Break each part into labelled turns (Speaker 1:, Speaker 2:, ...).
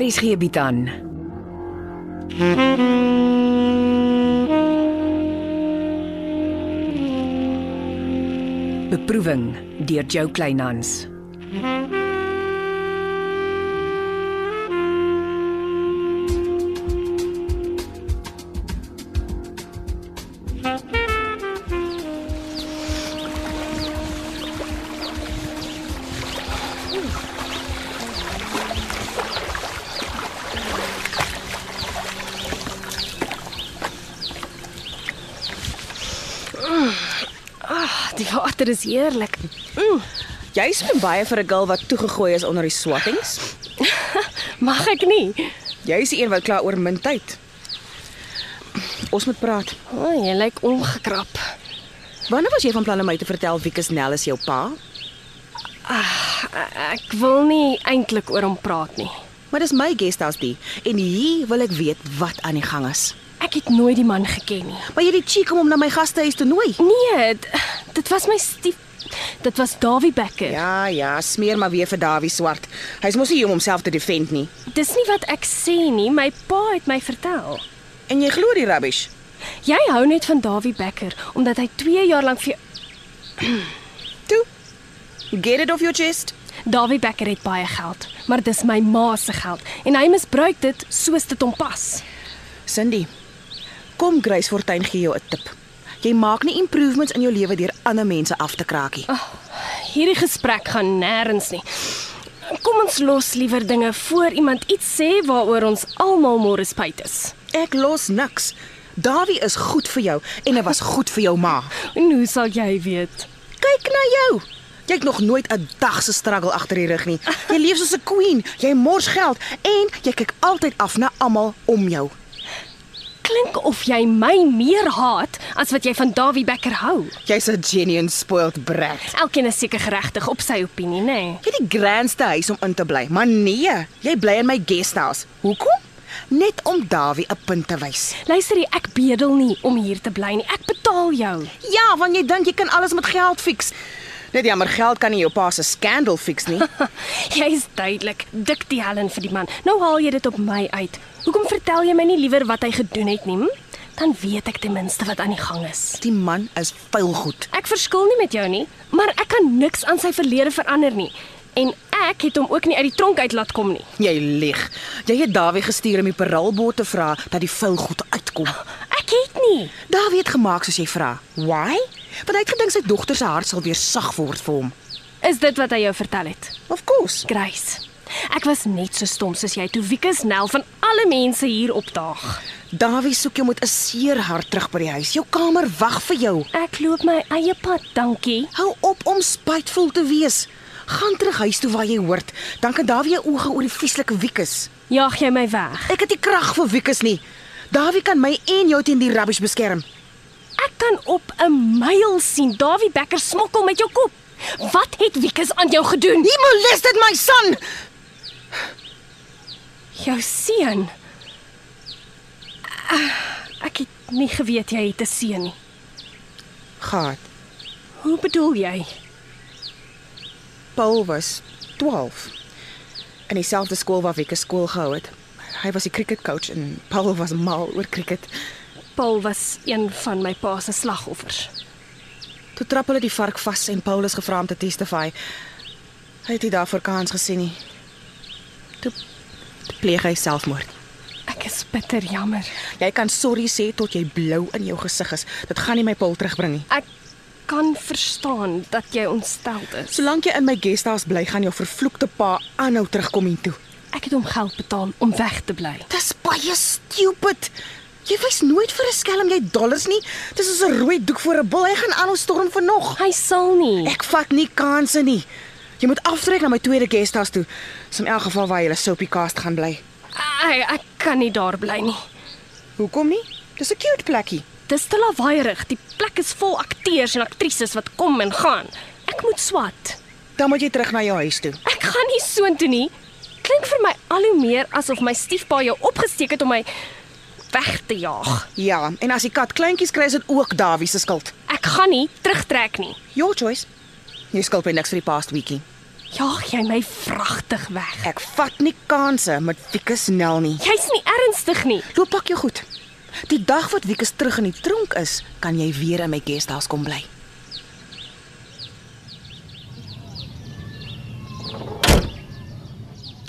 Speaker 1: RSG bied aan. Beproeving deur Jo Kleinhans.
Speaker 2: Die water is heerlik.
Speaker 3: Jy's vir baie vir 'n girl wat toegegooi is onder die swattings.
Speaker 2: Mag ek nie?
Speaker 3: Jy's die een wat klaar oor min tyd. Ons moet praat.
Speaker 2: O, oh, jy lyk ongekrap.
Speaker 3: Wanneer was jy van plan om my te vertel Wieke Snell is jou pa?
Speaker 2: Ek wil nie eintlik oor hom praat nie.
Speaker 3: Maar dis my guesthouse die en hier wil ek weet wat aan die gang is.
Speaker 2: Ek het nooit die man geken nie.
Speaker 3: Maar jy het die cheek om hom na my gastehuis te nooi.
Speaker 2: Nee, dit, dit was my stief. Dit was Dawie Becker.
Speaker 3: Ja, ja, smeer maar weer vir Dawie Swart. Hy's mos nie hier om homself te defend nie.
Speaker 2: Dis nie wat ek sê nie, my pa het my vertel.
Speaker 3: En jy glo die rubbish.
Speaker 2: Jy hou net van Dawie Becker omdat hy 2 jaar lank vir jou-
Speaker 3: Toe. Get it off your chest.
Speaker 2: Dawie Becker het baie geld, maar dis my ma se geld en hy misbruik dit soos dit hom pas.
Speaker 3: Cindy. Kom Grace Fortuin gee jou 'n tip. Jy maak nie improvements in jou lewe deur ander mense af te kraakie.
Speaker 2: Hierdie gesprek gaan nêrens nie. Kom ons los liewer dinge voor iemand iets sê waaroor ons almal môre spyt is.
Speaker 3: Ek los niks. Dawie is goed vir jou en hy was goed vir jou ma.
Speaker 2: En hoe sal jy weet?
Speaker 3: Kyk na jou. Jy het nog nooit 'n dag se struggle agter die rug nie. Jy leef soos 'n queen. Jy mors geld en jy kyk altyd af na almal om jou.
Speaker 2: Klink of jy my meer haat as wat jy van Dawie Becker hou.
Speaker 3: Jy's 'n genuine spoiled brat.
Speaker 2: Elkeen is seker geregtig op sy opinie, nê? Nee.
Speaker 3: Jy het die grandste huis om in te bly, maar nee, jy bly in my guest house. Hoekom? Net om Dawie 'n punt te wys.
Speaker 2: Luister, hier, ek bedel nie om hier te bly nie. Ek betaal jou.
Speaker 3: Ja, want jy dink jy kan alles met geld fix. Net jammer, geld kan nie jou pa se skandal fix nie.
Speaker 2: Jy's duidelik dik die Helen vir die man. Nou haal jy dit op my uit. Hoekom vertel jy my nie liewer wat hy gedoen het nie? hm? Dan weet ek ten minste wat aan die gang is.
Speaker 3: Die man is vuil goed.
Speaker 2: Ek verskil nie met jou nie, maar ek kan niks aan sy verlede verander nie. En ek het hom ook nie uit die tronk uit laat kom nie.
Speaker 3: Jy lieg. Jy het Dawie gestuur om die paraalbord te vra dat die vuil goed uitkom.
Speaker 2: Ek het nie.
Speaker 3: Dawie het gemaak soos jy vra. Why? Want hy het gedink sy dogter se hart sal weer sag word vir hom.
Speaker 2: Is dit wat hy jou vertel het?
Speaker 3: Of course.
Speaker 2: Grace. Ek was net so stom soos jy toe Wieke Snell van alle mense hier opdaag.
Speaker 3: Dawie soek jou met 'n seer hart terug by die huis. Jou kamer wag vir jou.
Speaker 2: Ek loop my eie pad, dankie.
Speaker 3: Hou op om spytvol te wees. Gaan terug huis toe waar jy hoort. Dan kan Dawie jou oë oor die vieslike wiekus.
Speaker 2: Jaag jy my weg?
Speaker 3: Ek het nie krag vir wiekus nie. Dawie kan my en jou teen die rubbish beskerm.
Speaker 2: Ek kan op 'n myl sien Dawie Becker smokkel met jou kop. Wat het Wieke aan jou gedoen?
Speaker 3: You molested my son.
Speaker 2: Jou seun. Ah, Ek het nie geweet jy het 'n seun nie.
Speaker 3: Gaat.
Speaker 2: Hoe bedoel jy?
Speaker 3: Paul was 12 in dieselfde skool waar Wieke skool gehou het. Hy was die cricketcoach en Paul was mal oor cricket.
Speaker 2: Paul was een van my pa se slagoffers.
Speaker 3: Toe trap hulle die vark vas en Paul is gevra om te testify. Hy het nie daarvoor kans gesien nie. Toe toe pleeg hy selfmoord.
Speaker 2: Ek is bitter jammer.
Speaker 3: Jy kan sorry sê tot jy blou in jou gesig is. Dit gaan nie my Paul terugbring nie.
Speaker 2: Ek kan verstaan dat jy ontsteld is.
Speaker 3: Solank jy in my guesthouse bly, gaan jou vervloekte pa aanhou terugkom hiertoe.
Speaker 2: Ek het hom geld betaal om weg te bly.
Speaker 3: Dis baie stupid. Jy wys nooit vir 'n skelm jy dollars nie. Dis soos 'n rooi doek voor 'n bil. Hy gaan aanhou storm vir nog.
Speaker 2: Hy sal nie.
Speaker 3: Ek vat nie kansse nie. Jy moet aftrek na my tweede guesthouse toe. Dis in elk geval waar jy soapie cast gaan bly.
Speaker 2: Ek, ek kan nie daar bly nie.
Speaker 3: Hoekom nie? Dis 'n cute plekkie.
Speaker 2: Dis te lawaaierig. Die plek is vol akteurs en aktrises wat kom en gaan. Ek moet swat.
Speaker 3: Dan moet jy terug na jou huis toe.
Speaker 2: Ek gaan nie soontoe nie. Klink vir my al hoe meer asof my stiefpa jou opgesteek het om my weg te jaag.
Speaker 3: Ja, en as die kat kleintjies kry, is dit ook Dawie se skuld.
Speaker 2: Ek gaan nie terugtrek nie.
Speaker 3: Your choice. Jy skuld by niks vir die past weekie.
Speaker 2: Jaag jy my vragtig weg.
Speaker 3: Ek vat nie kansse met Wieke Snell nie.
Speaker 2: Jy's nie ernstig nie.
Speaker 3: Loop pak jou goed. Die dag wat Wieke terug in die tronk is, kan jy weer in my guesthouse kom bly.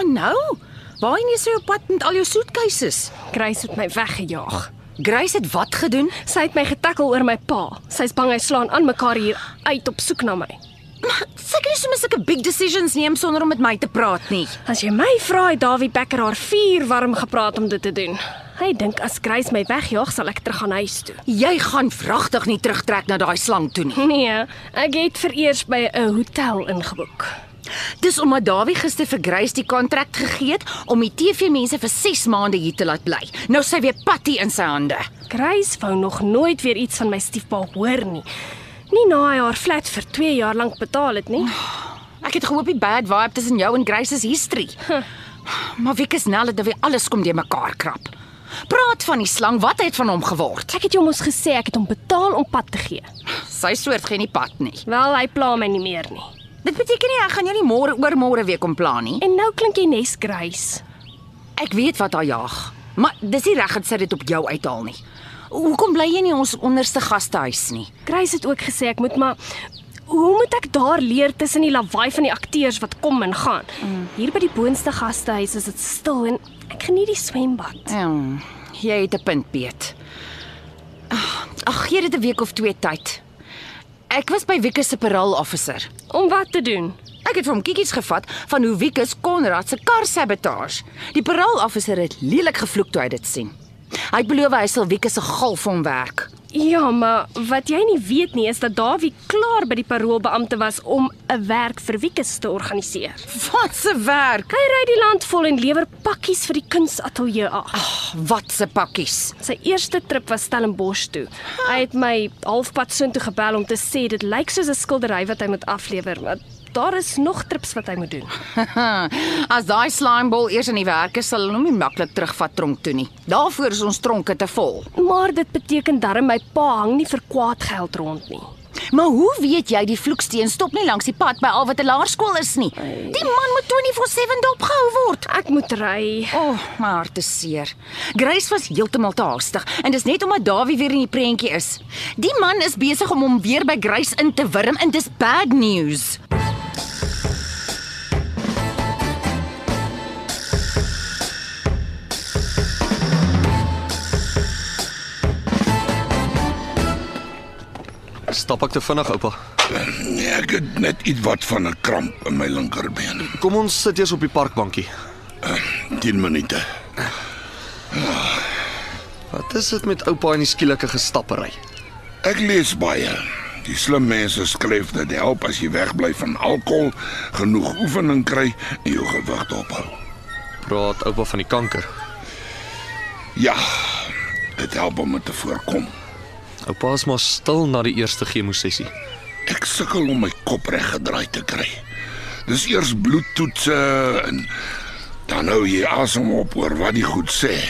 Speaker 4: En nou, waarheen is jy op pad met al jou soetkuises?
Speaker 2: Grace het my weggejaag.
Speaker 4: Grace het wat gedoen?
Speaker 2: Sy het my getakkel oor my pa. Sy's bang hy slaan aan mekaar hier uit op soek na my.
Speaker 4: Seker nie sommer sulke big decisions neem sonder om met my te praat nie.
Speaker 2: As jy my vra, het Dawie Becker haar vuur warm gepraat om dit te doen. Hy dink as Grace my wegjaag, sal ek terug aan huis toe.
Speaker 4: Jy gaan vragtig nie terugtrek na daai slang toe nie.
Speaker 2: Nee, ek het vereers by 'n hotel ingeboek.
Speaker 4: Dis omdat Dawie gister vir Grace die kontrak gegee het om die TV-mense vir 6 maande hier te laat bly. Nou is sy weer patty in sy hande.
Speaker 2: Grace wou nog nooit weer iets van my stiefpa hoor nie. Nie na hy haar flat vir 2 jaar lank betaal het nie.
Speaker 4: Ek het gehoop die bad vibe tussen jou en Grace is history. Maar Wieke snel het nou weer alles kom deur mekaar krap. Praat van die slang, wat het van hom geword?
Speaker 2: Ek het jou mos gesê ek het hom betaal om pad te gee.
Speaker 4: Sy soort geen die pad nie.
Speaker 2: Wel, hy pla my nie meer nie.
Speaker 4: Dit beteken nie ek gaan jou nie môre oor môre weer kom pla nie.
Speaker 2: En nou klink jy nes Grace.
Speaker 4: Ek weet wat haar jaag, maar dis nie reg dat sy dit op jou uithaal nie. Hoekom bly jy nie ons onderste gastehuis nie?
Speaker 2: Grace het ook gesê ek moet maar hoe moet ek daar leer tussen die lawaai van die akteurs wat kom en gaan? Mm. Hier by die boonste gastehuis is dit stil en ek geniet die swembad.
Speaker 4: Um, jy het 'n punt, Piet. Ag, gee dit 'n week of twee tyd. Ek was by Wieke se parole officer.
Speaker 2: Om wat te doen?
Speaker 4: Ek het vir hom kikkies gevat van hoe Wiekus Konrad se kar sabotage. Die parole officer het lelik gevloek toe hy dit sien. Hy het beloof hy sal Wiekus se galf vir hom werk.
Speaker 2: Ja, maar wat jy nie weet nie is dat Dawie klaar by die paroolbeampte was om 'n werk vir Wiekus te organiseer.
Speaker 4: Wat 'n werk.
Speaker 2: Hy ry die land vol en lewer pakkies vir die kunsateljee af.
Speaker 4: Wat se pakkies.
Speaker 2: Sy eerste trip was Stellenbosch toe. Hy het my halfpad soontoe gebel om te sê dit lyk soos 'n skildery wat hy moet aflewer, maar daar is nog trips wat hy moet doen.
Speaker 4: Hm. As daai slimebol eers in die werk is, sal hulle hom nie maklik terugvat tronk toe nie. Daarvoor is ons tronke te vol.
Speaker 2: Maar dit beteken darm my pa hang nie vir kwaad geld rond nie.
Speaker 4: Maar hoe weet jy die vloeksteen stop nie langs die pad by al wat 'n laerskool is nie? Die man moet 24/7 dopgehou word.
Speaker 2: Ek moet ry.
Speaker 4: O, oh, my hart is seer. Grace was heeltemal te haastig en dis net omdat Dawie weer in die prentjie is. Die man is besig om hom weer by Grace in te wurm en dis bad news.
Speaker 5: Stap ek te vinnig, oupa.
Speaker 6: Nee, ek het net iets wat van 'n kramp in my linkerbeen.
Speaker 5: Kom ons sit eers op die parkbankie.
Speaker 6: 10 minute.
Speaker 5: Wat is dit met oupa en die skielike gestappery?
Speaker 6: Ek lees baie. Die slim mense skryf dat dit help as jy wegbly van alkohol, genoeg oefening kry en jou gewig dophou.
Speaker 5: Praat oupa van die kanker.
Speaker 6: Ja, dit help om dit te voorkom.
Speaker 5: Oupa is maar stil na die eerste chemosessie.
Speaker 6: Ek sukkel om my kop reg gedraai te kry. Dis eers bloedtoetse en dan hou jy asem op oor wat die goed sê.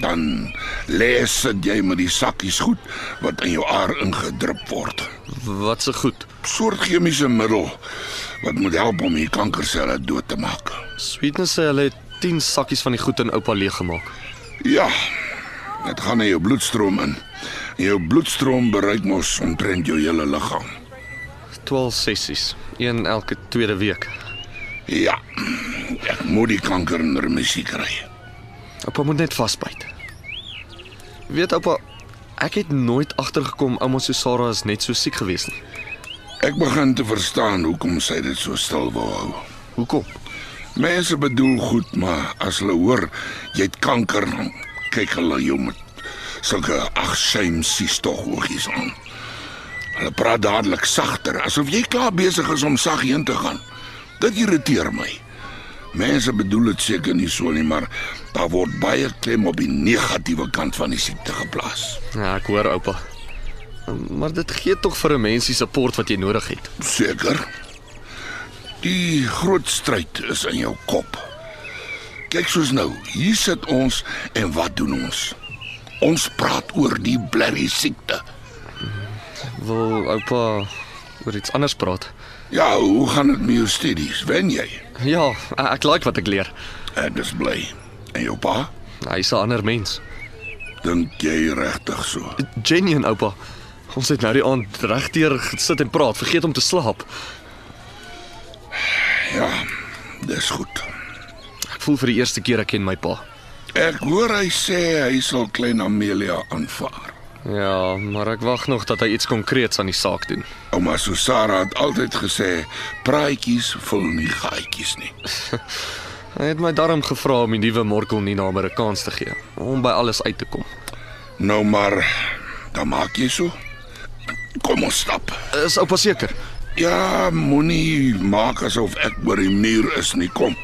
Speaker 6: Dan lees sit jy met die sakkies goed wat in jou aar ingedrup word.
Speaker 5: Wat se goed.
Speaker 6: soort chemiese middel wat moet help om die kankerselle dood te maak.
Speaker 5: Sweetness sê hulle het 10 sakkies van die goed in oupa leeg gemaak.
Speaker 6: Ja. Dit gaan in jou bloedstroom in. En jou bloedstroom bereik mos omtrent jou hele liggaam.
Speaker 5: 12 sessies, een elke tweede week.
Speaker 6: Ja. Ek moet die kanker in remissie kry.
Speaker 5: Oupa moet net vasbyt. Weet oupa, ek het nooit agtergekom ouma Susara is net so siek gewees nie.
Speaker 6: Ek begin te verstaan hoekom sy dit so stil wou hou.
Speaker 5: Hoekom?
Speaker 6: Mense bedoel goed, maar as hulle hoor jy het kanker, dan kyk hulle jou met sulke agshemsies tog oogies aan. Hulle praat dadelik sagter, asof jy klaar besig is om sag heen te gaan. Dit irriteer my. Mense bedoel dit seker nie so nie, maar daar word baie klem op die negatiewe kant van die siekte geplaas.
Speaker 5: Ja, ek hoor oupa. Maar dit gee tog vir 'n mens die support wat jy nodig het.
Speaker 6: Seker. Die groot stryd is in jou kop. Kyk soos nou, hier sit ons en wat doen ons? Ons praat oor die blerrie siekte.
Speaker 5: Wil oupa oor iets anders praat?
Speaker 6: Ja, hoe gaan dit met jou studies? Wen jy?
Speaker 5: Ja, e- ek like wat ek leer.
Speaker 6: Ek is bly. En jou pa?
Speaker 5: Hy's 'n ander mens.
Speaker 6: Dink jy regtig so?
Speaker 5: Jenny en oupa. Ons het nou die aand regdeur gesit en praat, vergeet om te slaap.
Speaker 6: Ja, dis goed.
Speaker 5: Ek voel vir die eerste keer ek ken my pa.
Speaker 6: Ek hoor hy sê hy sal klein Amelia aanvaar.
Speaker 5: Ja, maar ek wag nog dat hy iets konkreets aan die saak doen.
Speaker 6: Ouma Susara het altyd gesê, praatjies vul nie gaatjies nie.
Speaker 5: Hy het my darm gevra om die nuwe Morkel nie namer 'n kans te gee om by alles uit te kom.
Speaker 6: Nou maar, dan maak jy so. Kom ons stap.
Speaker 5: Is oupa seker?
Speaker 6: Ja, moenie maak asof ek oor die muur is nie, kom.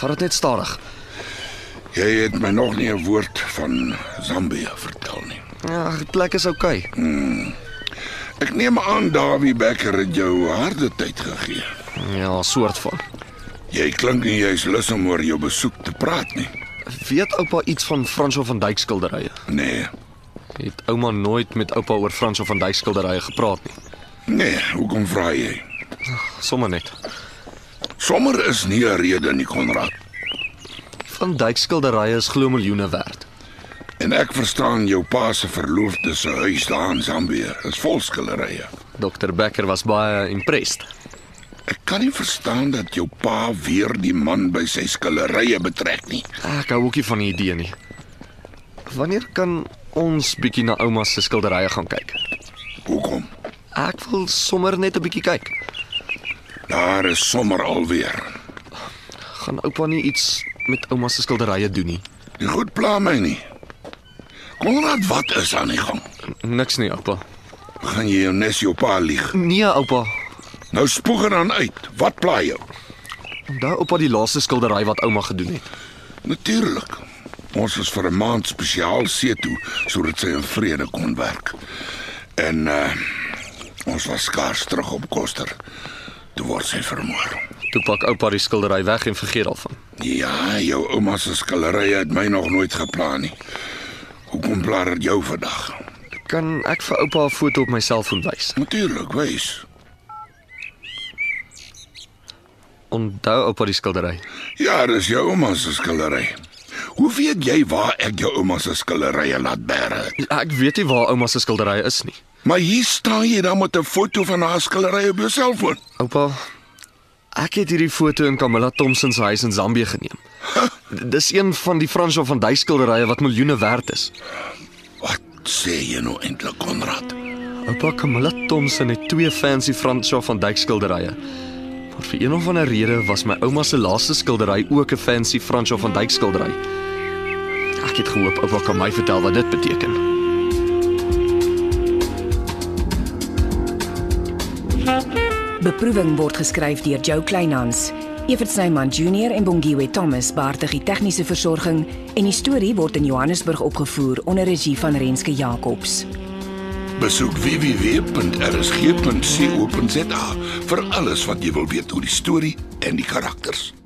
Speaker 5: Vat dit net stadig.
Speaker 6: Jy het my nog nie 'n woord van Zambië vertel nie.
Speaker 5: Ja, die plek is oukei. Okay.
Speaker 6: Ek neem aan Dawie Becker het jou harde tyd gegee.
Speaker 5: Ja, soort van.
Speaker 6: Jy klink nie jy's lus om oor jou besoek te praat nie.
Speaker 5: Weet oupa iets van Frans van Dyk skilderye?
Speaker 6: Nee.
Speaker 5: Het ouma nooit met oupa oor Frans van Dyk skilderye gepraat nie.
Speaker 6: Nee, hoekom vra jy?
Speaker 5: Sommige net.
Speaker 6: Sommer is nie 'n rede nie, Konrad.
Speaker 5: Van Dyk skilderye is glo miljoene werd.
Speaker 6: En ek verstaan jou pa se verloofde se huis daar in Zambië is vol skilderye.
Speaker 5: Dr Becker was baie impressed.
Speaker 6: Ek kan nie verstaan dat jou pa weer die man by sy skillerye betrek nie.
Speaker 5: Ek hou ookie van die idee nie. Wanneer kan ons bietjie na ouma se skilderye gaan kyk?
Speaker 6: Hoekom?
Speaker 5: Ek wil sommer net 'n bietjie kyk.
Speaker 6: Daar is sommer alweer.
Speaker 5: Gaan oupa nie iets met ouma se skilderye doen nie?
Speaker 6: Die goed pla my nie. Konrad, wat is aan die gang?
Speaker 5: Niks nie, oupa.
Speaker 6: Gaan jy jou nes jou pa lieg?
Speaker 5: Nee, oupa.
Speaker 6: Nou spoeg er dan uit. Wat pla jou?
Speaker 5: Onthou oupa die laaste skildery wat ouma gedoen het.
Speaker 6: Natuurlik. Ons was vir 'n maand spesiaal see toe sodat sy in vrede kon werk. En uh ons was skaars terug op Koster. Toe word sy vermoor.
Speaker 5: Toe pak oupa die skildery weg en vergeet daarvan.
Speaker 6: Ja, jou ouma se skillerye het my nog nooit gepla nie. Hoekom pla dit jou vandag?
Speaker 5: Kan ek vir oupa 'n foto op my selfoon wys?
Speaker 6: Natuurlik, wys.
Speaker 5: Onthou oupa die skildery.
Speaker 6: Ja, dis jou ouma se skillery. Hoe weet jy waar ek jou ouma se skillerye laat bære? het?
Speaker 5: Ek weet nie waar ouma se skildery is nie.
Speaker 6: Maar hier staan jy dan met 'n foto van haar skillery op jou selfoon.
Speaker 5: Oupa, ek het hierdie foto in Camilla Thompson se huis in Zambië geneem. D- Dis een van die Frans van Dyk skilderye wat miljoene werd is.
Speaker 6: Wat sê jy nou eintlik, Konrad?
Speaker 5: Oupa Camilla Thompson het twee fancy Frans van Dyk skilderye. Maar vir een of ander rede was my ouma se laaste skildery ook 'n fancy Frans van Dyk skildery. Ek het gehoop oupa kan my vertel wat dit beteken.
Speaker 1: Beproeving word geskryf deur Jo Kleinhans. Evert Snyman Junior en Bongwe Thomas baartig die tegniese versorging en die storie word in Johannesburg opgevoer onder regie van Renske Jacobs.
Speaker 6: Besoek www.rsg.co.za vir alles wat jy wil weet oor die storie en die karakters.